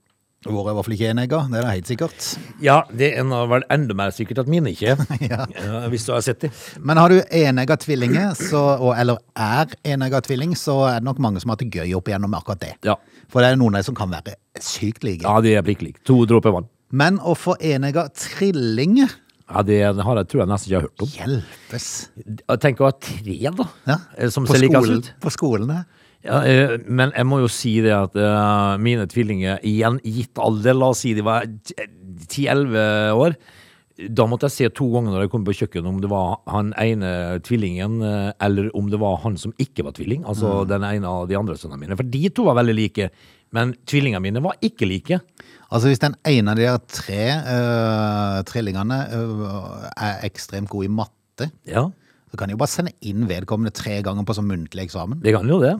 Speaker 1: våre er i hvert fall ikke enegga. Det er det helt sikkert.
Speaker 3: Ja, det er nå vel enda mer sikkert at mine ikke er.
Speaker 1: Ja.
Speaker 3: Eh, Hvis du har sett det.
Speaker 1: Men har du enegga tvillinger, så, og, eller er enegga tvilling, så er det nok mange som har hatt det gøy opp igjennom akkurat det.
Speaker 3: Ja.
Speaker 1: For det er noen av dem som kan være sykt like.
Speaker 3: Ja, det er prikk lik. To dråper vann.
Speaker 1: Men å få enegga trillinger
Speaker 3: Ja, det har jeg, tror jeg nesten ikke jeg har hørt om.
Speaker 1: Hjelpes!
Speaker 3: Jeg tenker å ha tre, da.
Speaker 1: Ja.
Speaker 3: eh, Som
Speaker 1: på,
Speaker 3: ser likest
Speaker 1: skolen-
Speaker 3: ut.
Speaker 1: på skolene.
Speaker 3: Ja, eh, men jeg må jo si det at eh, mine tvillinger, igjen gitt alder, la oss si de var t- 10-11 år, da måtte jeg se to ganger når jeg kom på kjøkkenet om det var han ene tvillingen, eh, eller om det var han som ikke var tvilling, altså den ene av de andre sønnene mine. For de to var veldig like, men tvillingene mine var ikke like.
Speaker 1: Altså Hvis den ene av de der tre øh, trillingene øh, er ekstremt god i matte,
Speaker 3: Ja,
Speaker 1: så kan de jo bare sende inn vedkommende tre ganger på sånn muntlig eksamen.
Speaker 3: det kan jo det.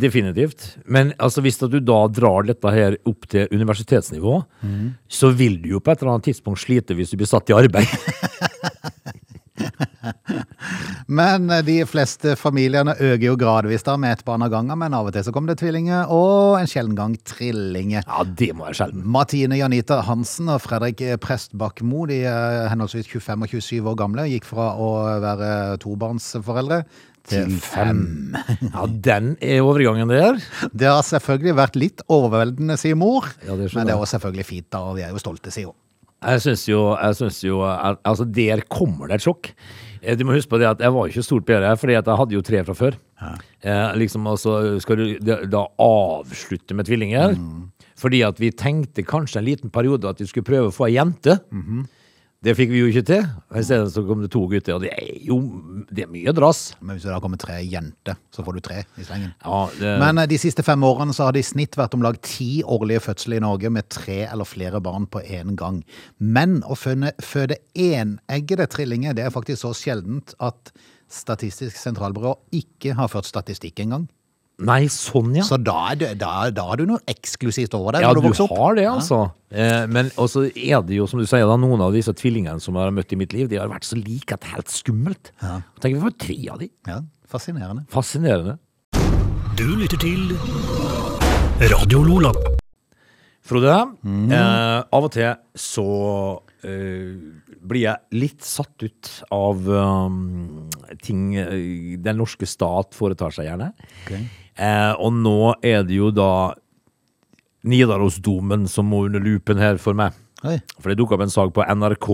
Speaker 3: Definitivt. Men altså, hvis at du da drar dette her opp til universitetsnivå, så vil du jo på et eller annet tidspunkt slite hvis du blir satt i arbeid.
Speaker 1: Men øh, de fleste familiene øker jo gradvis da med ett barn av gangen, men av og til så kommer det tvillinger, og en sjelden gang trillinger.
Speaker 3: Ja, det må jeg skjelve.
Speaker 1: Martine Janita Hansen og Fredrik Prestbakkmo, de er henholdsvis 25 og 27 år gamle, gikk fra å være tobarnsforeldre til fem.
Speaker 3: Ja, den er overgangen der.
Speaker 1: Det har selvfølgelig vært litt overveldende, sier mor,
Speaker 3: Ja, det skjønner
Speaker 1: men det
Speaker 3: jeg.
Speaker 1: er også selvfølgelig fint, da, og vi er jo stolte, sier hun.
Speaker 3: Jeg syns jo, jeg synes jo at, Altså, der kommer det et sjokk. Eh, Du må huske på det at jeg var jo ikke stort bedre, fordi at jeg hadde jo tre fra før. Eh, liksom, altså, skal du da da avslutte med tvillinger? Fordi at vi tenkte kanskje en liten periode at vi skulle prøve å få ei jente. Det fikk vi jo ikke til. I stedet så kom det to gutter, og det er jo det er mye drass.
Speaker 1: Men hvis det da kommer tre jenter, så får du tre i slengen.
Speaker 3: Ja, det,
Speaker 1: Men eh, de siste fem årene så har det i snitt vært om lag ti årlige fødsler i Norge med tre eller flere barn på én gang. Men å føde, føde eneggede trillinger det er faktisk så sjeldent at Statistisk sentralbyrå ikke har ført statistikk engang.
Speaker 3: nei, sånn, ja.
Speaker 1: Så da er, du- da, da har du noe eksklusivt over deg
Speaker 3: Ja,
Speaker 1: når du
Speaker 3: du
Speaker 1: vokser opp.
Speaker 3: har det, altså. Eh, men også er det jo, som du sier, da, noen av disse tvillingene som jeg har møtt i mitt liv, de har vært så like at det er helt skummelt. Tenk, vi får tre av de.
Speaker 1: Ja, fascinerende.
Speaker 3: Fascinerende.
Speaker 2: Du lytter til Radio Lola.
Speaker 3: Frode, eh, av og til så eh, blir jeg litt satt ut av um, ting eh, den norske stat foretar seg gjerne. Eh, og nå er det jo da Nidarosdomen som må under lupen her for meg.
Speaker 1: Oi.
Speaker 3: For det dukka opp en sak på NRK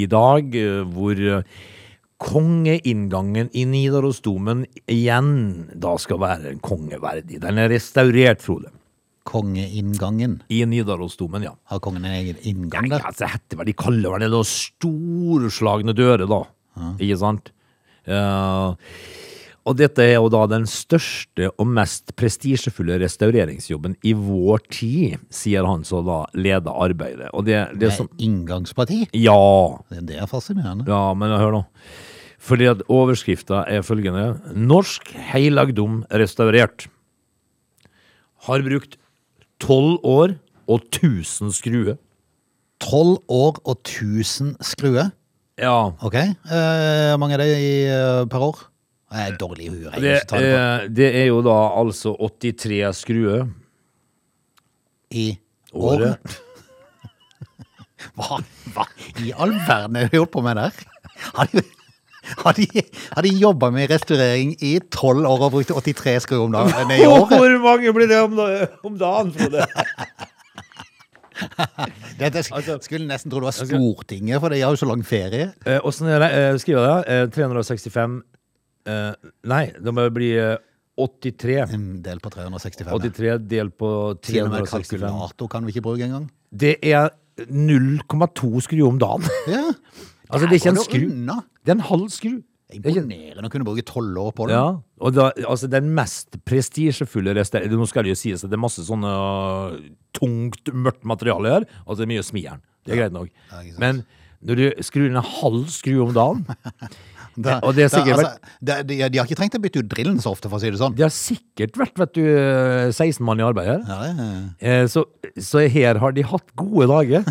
Speaker 3: i dag eh, hvor eh, kongeinngangen i Nidarosdomen igjen da skal være en kongeverdig. Den er restaurert, Frode.
Speaker 1: Kongeinngangen.
Speaker 3: I Nidarosdomen, ja.
Speaker 1: Har kongen en egen inngang
Speaker 3: Nei,
Speaker 1: der?
Speaker 3: altså, hette hva de kaller vel det da, storslagne dører da, ikke sant? Eh, og dette er jo da den største og mest prestisjefulle restaureringsjobben i vår tid, sier han som da leder arbeidet. Og det, det er
Speaker 1: Med
Speaker 3: sånn,
Speaker 1: inngangsparti?
Speaker 3: ja,
Speaker 1: Det er fascinerende.
Speaker 3: ja, men hør nå. Fordi at overskriften er følgende. Norsk heilagdom restaurert. Har brukt 12 år og 1000 skruer.
Speaker 1: Tolv år og 1000 skruer.
Speaker 3: Ja,
Speaker 1: Ok. Eh, Hvor mange er det i, eh, per år? Jeg er dårlig i huet. jeg kan
Speaker 3: det,
Speaker 1: ikke ta det på.
Speaker 3: eh, det er jo da altså 83 skruer.
Speaker 1: I året?
Speaker 3: året.
Speaker 1: Hva, hva i all verden er det du holder på med der? Har de, har de, har de jobba med restaurering i tolv år og brukt 83 skruer om dagen i året?
Speaker 3: Hvor mange blir det om, da- om dagen, Frode?
Speaker 1: Dette sk-
Speaker 3: Altså-
Speaker 1: skulle nesten tro det var Stortinget, for de har jo så lang ferie.
Speaker 3: Eh, Åssen er det? Eh, skriver jeg det? Eh, 365 eh, Nei, det må bli eh, 83.
Speaker 1: En del på 365. ja.
Speaker 3: 83 delt på
Speaker 1: Til og med
Speaker 3: 365.
Speaker 1: kalkulator kan vi ikke bruke engang.
Speaker 3: Det er 0,2 skruer om dagen.
Speaker 1: Ja.
Speaker 3: Altså, det er ikke en skru.
Speaker 1: Unna.
Speaker 3: Det er en halv skru. Det er ikke-
Speaker 1: Imponerende å kunne bruke tolv år på det.
Speaker 3: Ja, og da, altså den mest prestisjefulle restaureringen Nå skal det jo sies at det er masse sånne øh, tungt, mørkt materiale her. Altså det er mye smijern. Det er greit nok.
Speaker 1: Ja, ikke sant.
Speaker 3: Men når du skrur inn en halv skru om dagen
Speaker 1: Da-
Speaker 3: Og det er
Speaker 1: da-
Speaker 3: sikkert
Speaker 1: altså, det- de, de har ikke trengt å bytte ut drillen så ofte, for å si det sånn.
Speaker 3: Det har sikkert vært vet du, 16 mann i arbeid her.
Speaker 1: Ja, ja.
Speaker 3: Eh, Så, så her har de hatt gode dager.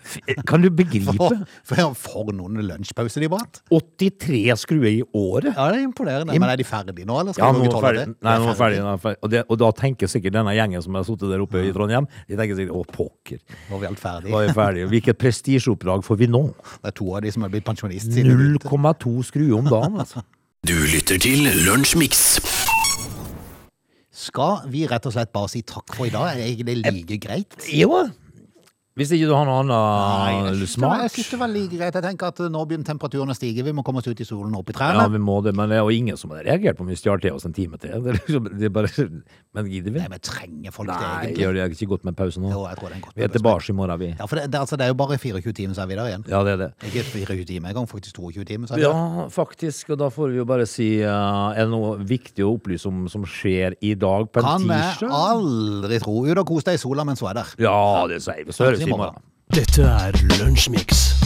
Speaker 3: F- eh, Kan du begripe?
Speaker 1: For, for, for noen lunsjpause de har hatt.
Speaker 3: 83 skruer i året?
Speaker 1: Ja, det er imponerende. Men er de ferdige nå, eller skal
Speaker 3: Ja,
Speaker 1: de bruke
Speaker 3: nå er
Speaker 1: tolv år
Speaker 3: ferdig.
Speaker 1: til?
Speaker 3: Nei,
Speaker 1: De er
Speaker 3: nå er ferdig. nå er ferdig. Og, det, og da tenker sikkert denne gjengen som har sittet der oppe i Trondheim, de tenker sikkert 'å, pokker,
Speaker 1: Nå er vi alt
Speaker 3: nå
Speaker 1: ferdig.
Speaker 3: er vi ferdige'. Hvilket prestisjeoppdrag får vi nå?
Speaker 1: Det er to av de som er blitt pensjonist siden de begynte.
Speaker 3: 0,2 skruer om dagen, altså.
Speaker 2: Du lytter til Lunsjmix.
Speaker 1: Skal vi rett og slett bare si takk for i dag? Er ikke det like greit?
Speaker 3: Jo, Hvis ikke du har noe
Speaker 1: Nei,
Speaker 3: annet
Speaker 1: jeg synes det var- Jeg
Speaker 3: smak.
Speaker 1: synes det var like greit. Jeg tenker at nå begynner temperaturen å stige. Vi må komme oss ut i solen og opp i
Speaker 3: Ja,
Speaker 1: trærne.
Speaker 3: vi må det, men det er jo ingen som hadde reagert på om vi stjal til oss en time til. Det er liksom, det er bare, men gidder vi?
Speaker 1: Nei, vi trenger folk det
Speaker 3: Nei,
Speaker 1: egentlig.
Speaker 3: gjør det ikke godt med pausen nå?
Speaker 1: Jo, jeg tror det er en godt
Speaker 3: Vi er tilbake i morgen, vi.
Speaker 1: Ja, for det, det, altså, det er jo bare 24 timer, så er vi der igjen.
Speaker 3: Ja, det er det.
Speaker 1: Ikke 24 timer engang, faktisk 22 timer. Så er vi der.
Speaker 3: Ja, faktisk, og da får vi jo bare si eh, Er det noe viktig å opplyse om som skjer i dag på en
Speaker 1: Kan jeg
Speaker 3: tirsdag?
Speaker 1: aldri tro. Ut og kos deg i sola mens hun er der.
Speaker 3: Ja, det sier vi. Så høres vi i morgen.
Speaker 2: Dette er Lunsjmix.